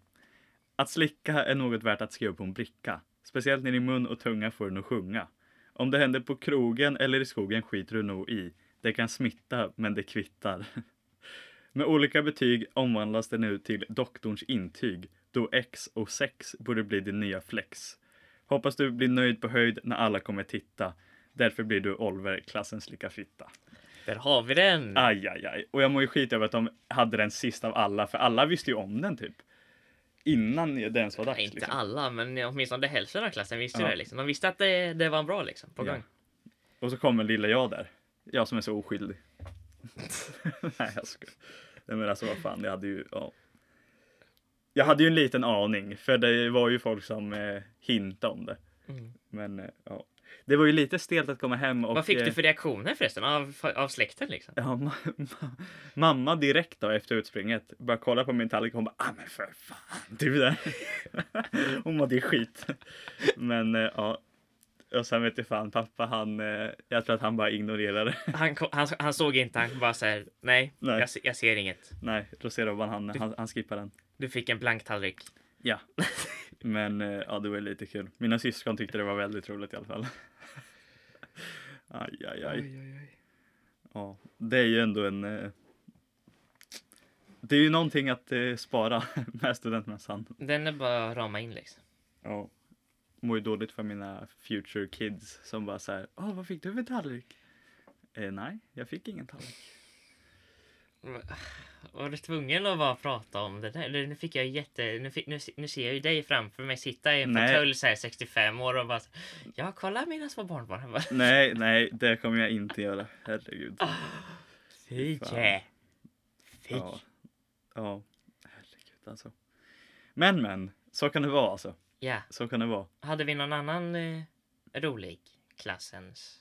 A: Att slicka är något värt att skriva på en bricka. Speciellt när din mun och tunga får den att sjunga. Om det händer på krogen eller i skogen skiter du nog i. Det kan smitta, men det [laughs] kvittar. Med olika betyg omvandlas det nu till doktorns intyg Netto X och 6 borde bli din nya flex. Hoppas du blir nöjd på höjd när alla kommer titta. Därför blir du Oliver, klassens lika fitta.
B: Där har vi den!
A: Aj, aj, aj. Och jag mår ju skit över att de hade den sist av alla, för alla visste ju om den typ. Innan det ens var dags.
B: Nej, inte
A: liksom.
B: alla, men åtminstone hälften av klassen visste
A: Ja.
B: det. Liksom. De visste att det, det var en bra liksom, på
A: Ja.
B: gång.
A: Och så kommer lilla jag där. Jag som är så oskyldig. [laughs] Nej, jag skojar. Nej, men alltså vad fan, jag hade ju... Ja. Jag hade ju en liten aning, för det var ju folk som eh, hintade om det.
B: Mm.
A: Men eh, ja. Det var ju lite stelt att komma hem och...
B: Vad fick
A: eh,
B: du för reaktioner förresten av, av släkten? Liksom?
A: Ja, ma- ma- mamma direkt då efter utspringet bara kolla på min tallrik och hon bara ah men för fan typ där. [laughs] hon mådde ju skit. Men eh, ja. Och sen vet du fan pappa han eh, jag tror att han bara ignorerade. [laughs]
B: Han, ko- han, han såg inte, han bara såhär, nej,
A: Nej.
B: Jag, se- jag ser inget.
A: Nej, roséroban han, han, han skippar den.
B: Du fick en blank tallrik.
A: Ja. [laughs] Men eh, ja, det var lite kul. Mina syskon tyckte det var väldigt roligt i alla fall. [laughs] Aj, aj, aj. Ja, det är ju ändå en... eh, Det är ju någonting att eh, spara [laughs] med studentmässan.
B: Den är bara att rama in liksom.
A: Ja. Mår ju dåligt för mina future kids som bara så här, Åh, vad fick du för tallrik? Eh, nej, jag fick ingen tallrik.
B: Var du tvungen att bara prata om det där? Nu fick jag jätte... Nu, fick, nu, se- nu ser jag ju dig framför mig sitta i en
A: Nej.
B: fåtölj såhär 65 år och bara så- Ja, kolla mina små barnbarn. Han bara,
A: Nej, nej, det kommer jag inte göra. Herregud.
B: Fy!
A: fan.
B: yeah. Fy!
A: Ja. ja, herregud alltså. Men, men, så kan det vara alltså.
B: Ja.
A: Så kan det vara.
B: Hade vi någon annan eh, rolig klass ens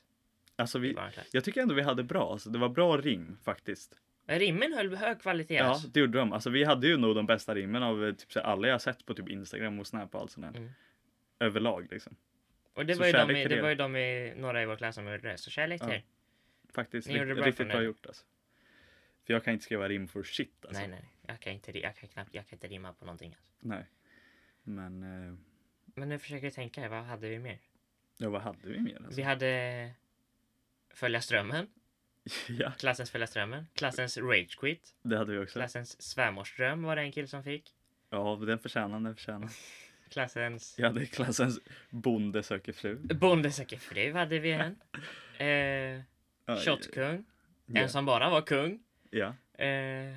A: Alltså
B: i
A: vi,
B: vår klass?
A: jag tycker ändå vi hade bra, alltså, det var bra rim faktiskt.
B: Rimmen höll hög kvalitet.
A: Ja,
B: alltså.
A: det gjorde de. Alltså, vi hade ju nog de bästa rimmen av eh, typ, så här, alla jag sett på typ Instagram och Snap och allt sånt där.
B: Mm.
A: Överlag liksom,
B: Och det
A: så
B: var, ju de,
A: kärlek
B: i-
A: till
B: det
A: er.
B: var ju de i, några i vår klass som gjorde det. Så kärlek till
A: Ja,
B: er.
A: faktiskt.
B: Ni gjorde det
A: Rikt,
B: bra
A: riktigt
B: för
A: bra
B: nu.
A: gjort alltså. För jag kan inte skriva rim för shit alltså.
B: Nej, nej. nej. Jag kan inte, ri- jag kan knappt, jag kan inte rimma på någonting. Alltså.
A: Nej. Men, eh,
B: Men nu försöker jag tänka, här, vad hade vi mer?
A: ja vad hade vi mer? Alltså?
B: Vi hade Följa strömmen,
A: [laughs] ja,
B: klassens Följa strömmen, klassens Rage Quit,
A: det hade vi också.
B: klassens Svärmorsdröm var det en kille som fick.
A: Ja, den förtjänar, den förtjänar.
B: Klassens
A: Jag hade klassens bonde söker fru.
B: Bonde söker fru hade vi
A: [laughs]
B: en. Eh,
A: Aj,
B: Shotkung,
A: ja.
B: en som bara var kung.
A: Ja.
B: Eh,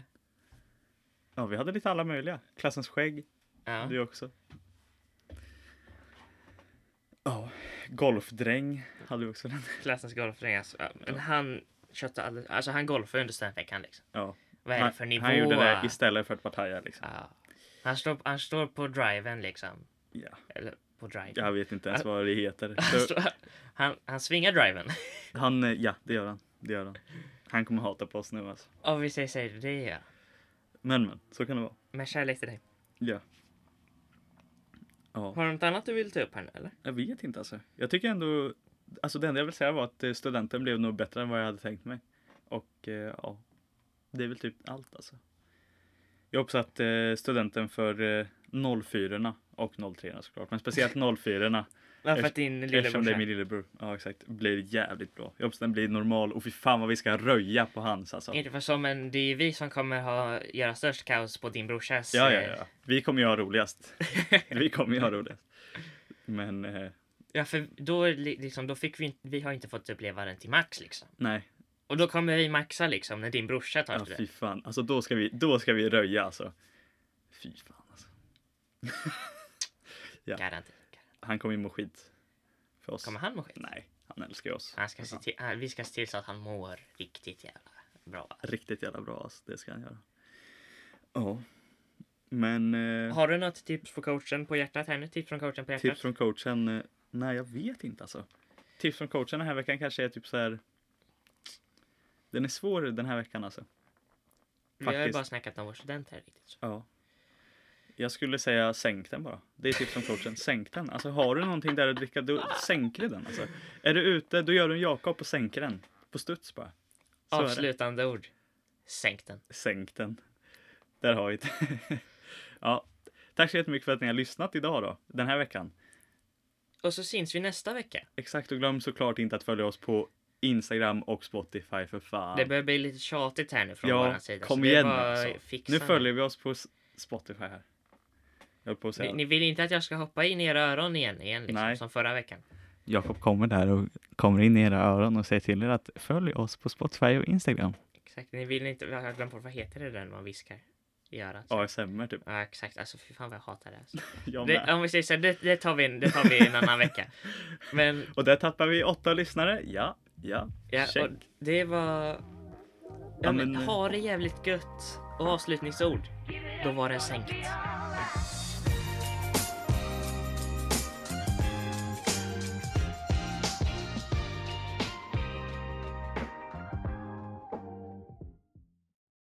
A: ja, vi hade lite alla möjliga. Klassens skägg.
B: ja.
A: Du också. Ja, golfdräng hade vi också. Den.
B: Klassens golfring alltså. Ja, Men han köttade aldrig, alltså han golfade under studentveckan liksom.
A: Ja.
B: Vad är det
A: Han,
B: för nivå?
A: han gjorde det istället för att partaja liksom.
B: ja. han, står, han står på driven liksom.
A: Ja.
B: Eller på driven.
A: Jag vet inte
B: Alltså-
A: ens vad det heter.
B: [laughs] Han,
A: Så,
B: står- han, han svingar driven. [laughs]
A: han, eh, ja, det gör han. Det gör han. Han kommer hata på oss nu alltså.
B: Om vi säger så här, det gör jag.
A: Men men, så kan det vara.
B: Med kärlek till dig.
A: Ja. Ja,
B: Har du något annat du vill ta upp här nu eller?
A: jag vet inte alltså. Jag tycker ändå, alltså det enda jag vill säga var att eh, studenten blev nog bättre än vad jag hade tänkt mig. Och eh, ja, det är väl typ allt alltså. Jag har uppsatt eh, studenten för eh, 04 och 03 såklart, men speciellt 04
B: Varför
A: Eft-
B: att din
A: eftersom
B: lillebrorsa...
A: det är [laughs] min lillebror. Ja exakt, blir jävligt bra. Jag hoppas den blir normal och fy fan vad vi ska röja på hans alltså.
B: Inte för så men det är vi som kommer ha, göra störst kaos på din brorsas...
A: Ja, ja,
B: eh,
A: ja. Vi kommer ju ha
B: [laughs]
A: roligast. Vi kommer ju ha roligast. Men eh,
B: ja för då, är det li- liksom, då fick vi inte, vi har inte fått uppleva den till max liksom.
A: nej,
B: Och då kommer vi maxa liksom när din brorsa tar
A: Ja,
B: studenten.
A: fy fan. Alltså då ska vi, då ska vi röja alltså. Fy fan alltså. ja.
B: Garanti. garanti.
A: Han kommer ju må skit. För oss.
B: Kommer han må skit?
A: Nej, han älskar ju oss. Alltså,
B: Han ska se till, han- vi ska se till så att han mår riktigt jävla bra.
A: Riktigt jävla bra alltså, det ska han göra. Ja. Men eh,
B: Har du något tips på coachen på hjärtat här nu? Tips från coachen på hjärtat?
A: tips från coachen? eh, Nej, jag vet inte alltså. Tips från coachen den här veckan kanske är typ så här. Den är svår den här veckan alltså.
B: vi har ju
A: faktiskt.
B: bara snackat om vår student här riktigt. Så.
A: Ja. Jag skulle säga sänk den bara. Det är tips från coachen. Sänk den. Alltså har du någonting där att dricka, då sänker du den. Alltså. Är du ute, då gör du en Jakob och sänker den. På studs bara. Så är det.
B: Avslutande ord. Sänk den.
A: Sänk den. Där har vi det. [laughs] ja. Tack så jättemycket för att ni har lyssnat idag då. Den här veckan.
B: Och så syns vi nästa vecka.
A: Exakt och glöm såklart inte att följa oss på Instagram och Spotify för fan.
B: Det börjar bli lite tjatigt här nu från
A: ja,
B: våran sida.
A: kom
B: så det är
A: igen
B: bara
A: alltså.
B: att fixa
A: Nu följer vi oss på S- Spotify här. Jag höll på att
B: Ni,
A: säga.
B: ni vill inte att jag ska hoppa in i era öron igen, igen liksom,
A: Nej.
B: som förra veckan?
A: Jakob kommer där och kommer in i era öron och säger till er att följ oss på Spotify och Instagram.
B: Exakt, ni vill inte, jag har glömt bort, vad heter det där man viskar i örat?
A: ASMR typ.
B: Ja, exakt, alltså fy fan vad jag hatar det. Alltså.
A: Jag
B: det
A: med.
B: om vi säger så här, det, det, tar vi, en- det tar vi en
A: [laughs]
B: annan vecka. Men
A: Och där tappar vi åtta lyssnare. Ja, ja.
B: Ja, och
A: Check.
B: det var... Ja, men,
A: men-
B: ha det jävligt gött. Och avslutningsord. Då var den sänkt.